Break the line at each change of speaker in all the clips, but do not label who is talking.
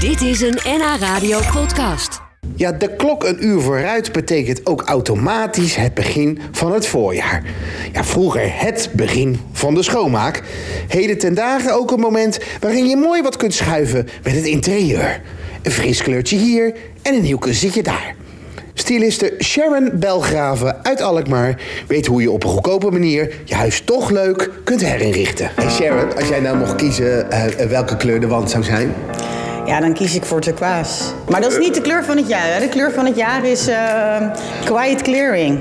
Dit is een NH Radio podcast.
Ja, de klok een uur vooruit betekent ook automatisch het begin van het voorjaar. Ja, vroeger het begin van de schoonmaak. Heden ten dagen ook een moment waarin je mooi wat kunt schuiven met het interieur. Een fris kleurtje hier en een nieuw kussentje daar. Styliste Sharon Belgraven uit Alkmaar weet hoe je op een goedkope manier je huis toch leuk kunt herinrichten. Hey Sharon, als jij nou mocht kiezen eh, welke kleur de wand zou zijn,
Ja, dan kies ik voor turquoise. Maar dat is niet de kleur van het jaar. Hè? De kleur van het jaar is eh, Quiet Clearing.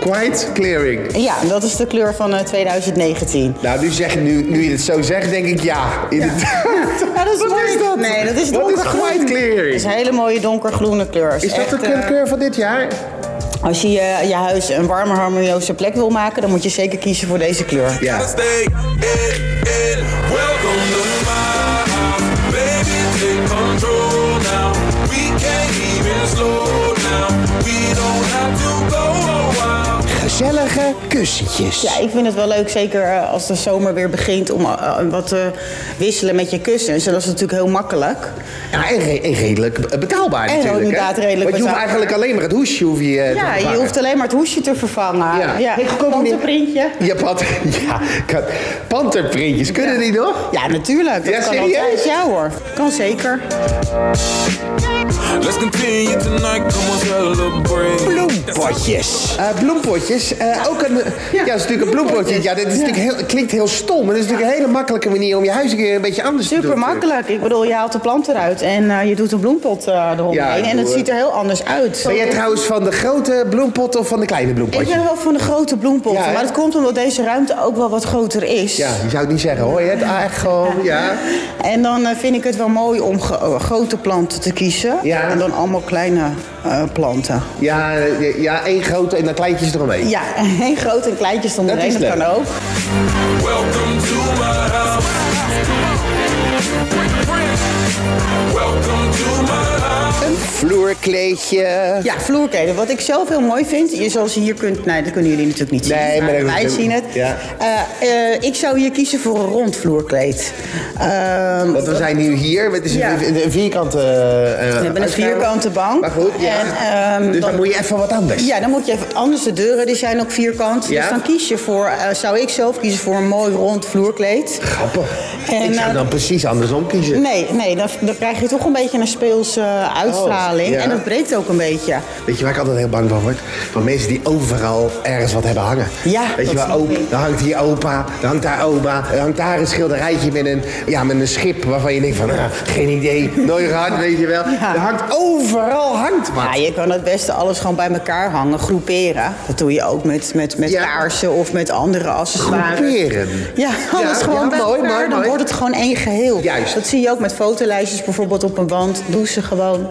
Quiet Clearing.
En Ja, dat is de kleur van eh, 2019.
Nou, nu, zeg, nu, nu je het zo zegt, denk ik ja. Inderdaad.
Ja, dat is
Wat
leuk.
is dat?
Nee, dat is
Wat is
donkergroen.
quiet clearing?
Dat is een hele mooie donkergroene kleur.
Is dat
echt,
de
eh,
kleur van dit jaar?
Als je eh, je huis een warme, harmonieuze plek wil maken... dan moet je zeker kiezen voor deze kleur.
Ja.
gotta stay in it. Welcome to my house. Baby, take control now. We can't even slow down. We don't have to go a while.
Gezellige kussentjes.
Ja, ik vind het wel leuk, zeker eh, als de zomer weer begint... om eh, wat te wisselen met je kussens. En dat is natuurlijk heel makkelijk.
Ja, en, re- en redelijk betaalbaar
En
natuurlijk. hè?
inderdaad redelijk
Want je hoeft
betaalbaar.
eigenlijk alleen maar het hoesje hoef je, eh, te
Ja, je
vervangen.
hoeft alleen maar het hoesje te vervangen.
Ja.
Ja,
Hey, goedkoop meneer.
panterprintje.
Ja, pant ja, kan- panterprintjes. Kunnen die nog?
Ja, natuurlijk. Dat
Ja,
kan
serieus?
altijd. Ja hoor, kan zeker.
Let's continue tonight. Come on, celebrate.
Bloempotjes. Eh, bloempotjes. eh, ook een, ja,
Ja,
dat is natuurlijk een bloempotje. Ja, dit is
Ja.
natuurlijk heel, klinkt heel stom. Maar dat is natuurlijk een hele makkelijke manier om je huis een keer een beetje anders te
Super
doen.
makkelijk. Ik bedoel, je haalt de plant eruit en eh, je doet een bloempot eh eromheen.
Ja, ik
en
bedoel,
het ziet er heel anders uit.
Ben jij trouwens van de grote bloempot of van de kleine
ik
bloempotjes?
ben wel van de grote bloempotten,
Ja, hè?
maar dat komt omdat deze ruimte ook wel wat groter is.
Ja, je zou het niet zeggen. Hoor je het echo? Ja.
En dan eh, vind ik het wel mooi om ge- eh, grote planten te kiezen.
Ja.
En dan allemaal kleine eh, planten.
Ja, eh, ja, één grote en dan kleintjes eromheen.
Ja, en groot en kleintjes dan
is
dat
leuk.
kan ook.
Welcome to my house. Welcome to my house.
Een vloerkleedje.
Ja, vloerkleden. Wat ik zelf heel mooi vind, is zoals je hier kunt... Nee, dat kunnen jullie natuurlijk niet zien.
Nee, maar dat
wij
hoeft ook
zien het.
niet. Ja.
Eh, eh, ik zou hier kiezen voor een rond vloerkleed. Ehm,
Want we zijn nu hier. Het is een-
Ja.
een, een vierkante... eh,
we hebben een vierkante bank.
Maar goed, ja.
En, ehm,
dus dan,
dan-
moet je even wat anders.
ja, dan moet je even anders. De deuren die zijn ook vierkant.
Ja.
Dus dan kies je voor, eh, zou ik zelf kiezen voor een mooi rond vloerkleed.
Grappig.
En,
Ik zou
eh,
dan precies andersom kiezen.
Nee, nee dan, dan krijg je toch een beetje een speelse eh, uitstraling.
Oh, ja.
En dat breekt ook een beetje.
Weet je waar ik altijd heel bang van word? Van mensen die overal ergens wat hebben hangen.
Ja,
Weet je
dat
wel,
snap
op,
ik.
dan hangt hier opa, dan hangt daar oma, dan hangt daar een schilderijtje met een, ja, met een schip waarvan je denkt van, ah, geen idee, nooit gehad, weet je wel.
Ja.
Er hangt overal hangt wat.
Ja, je kan het beste alles gewoon bij elkaar hangen, groeperen. Dat doe je ook met, met, met
Ja.
kaarsen of met andere accessoires.
Groeperen.
Ja,
Ja,
alles gewoon
ja,
bij
mooi,
elkaar.
mooi,
dan
mooi.
wordt het gewoon één geheel.
Juist.
Dat zie je ook met fotolijstjes bijvoorbeeld op een wand. Doe ze gewoon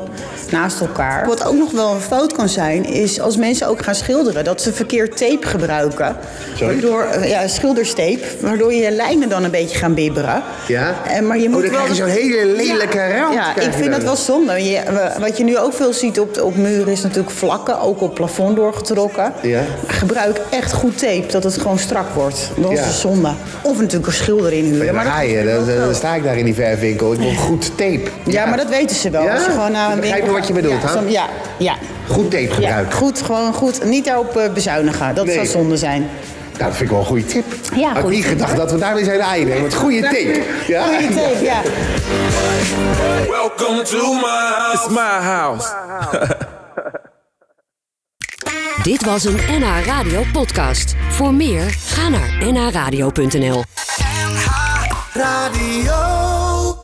naast elkaar. Wat ook nog wel een fout kan zijn, is als mensen ook gaan schilderen... dat ze verkeerd tape gebruiken.
Sorry?
Waardoor, eh, ja, schilderstape. Waardoor je lijnen dan een beetje gaan bibberen.
Ja?
En, Eh, maar je
Oh,
moet
dan
wel...
krijg je zo'n hele lelijke
ja.
rand,
Ja,
krijg
ik
je
vind
dan.
dat wel zonde. Je- we- wat je nu ook veel ziet op, op muren is natuurlijk vlakken, ook op plafond doorgetrokken.
Ja.
Gebruik echt goed tape, dat het gewoon strak wordt. Dat is
Ja.
een zonde. Of natuurlijk een schilder inhuren.
Dan
Maar
ga
dat-
je, dan, dan sta ik daar in die verfwinkel. Ik wil goed tape.
ja, maar dat weten ze wel.
Ja?
Als je gewoon naar
Ik
een
begrijp
winkel-
wat je bedoelt,
ja,
hè?
zo- Ja, ja.
Goed tape
Ja,
gebruiken.
goed, gewoon goed. Niet daarop eh, bezuinigen. Dat
Nee.
zou zonde zijn.
Nou, dat vind ik wel een goede tip.
Ja,
Had ik
goeie
niet gedacht dat we daarmee zouden eindigen. Met goede tape. Ja?
Goeie Oh, tape, ja.
Welcome to my house. It's my house.
Dit was een NH Radio podcast. Voor meer, ga naar nhradio.nl.
Radio.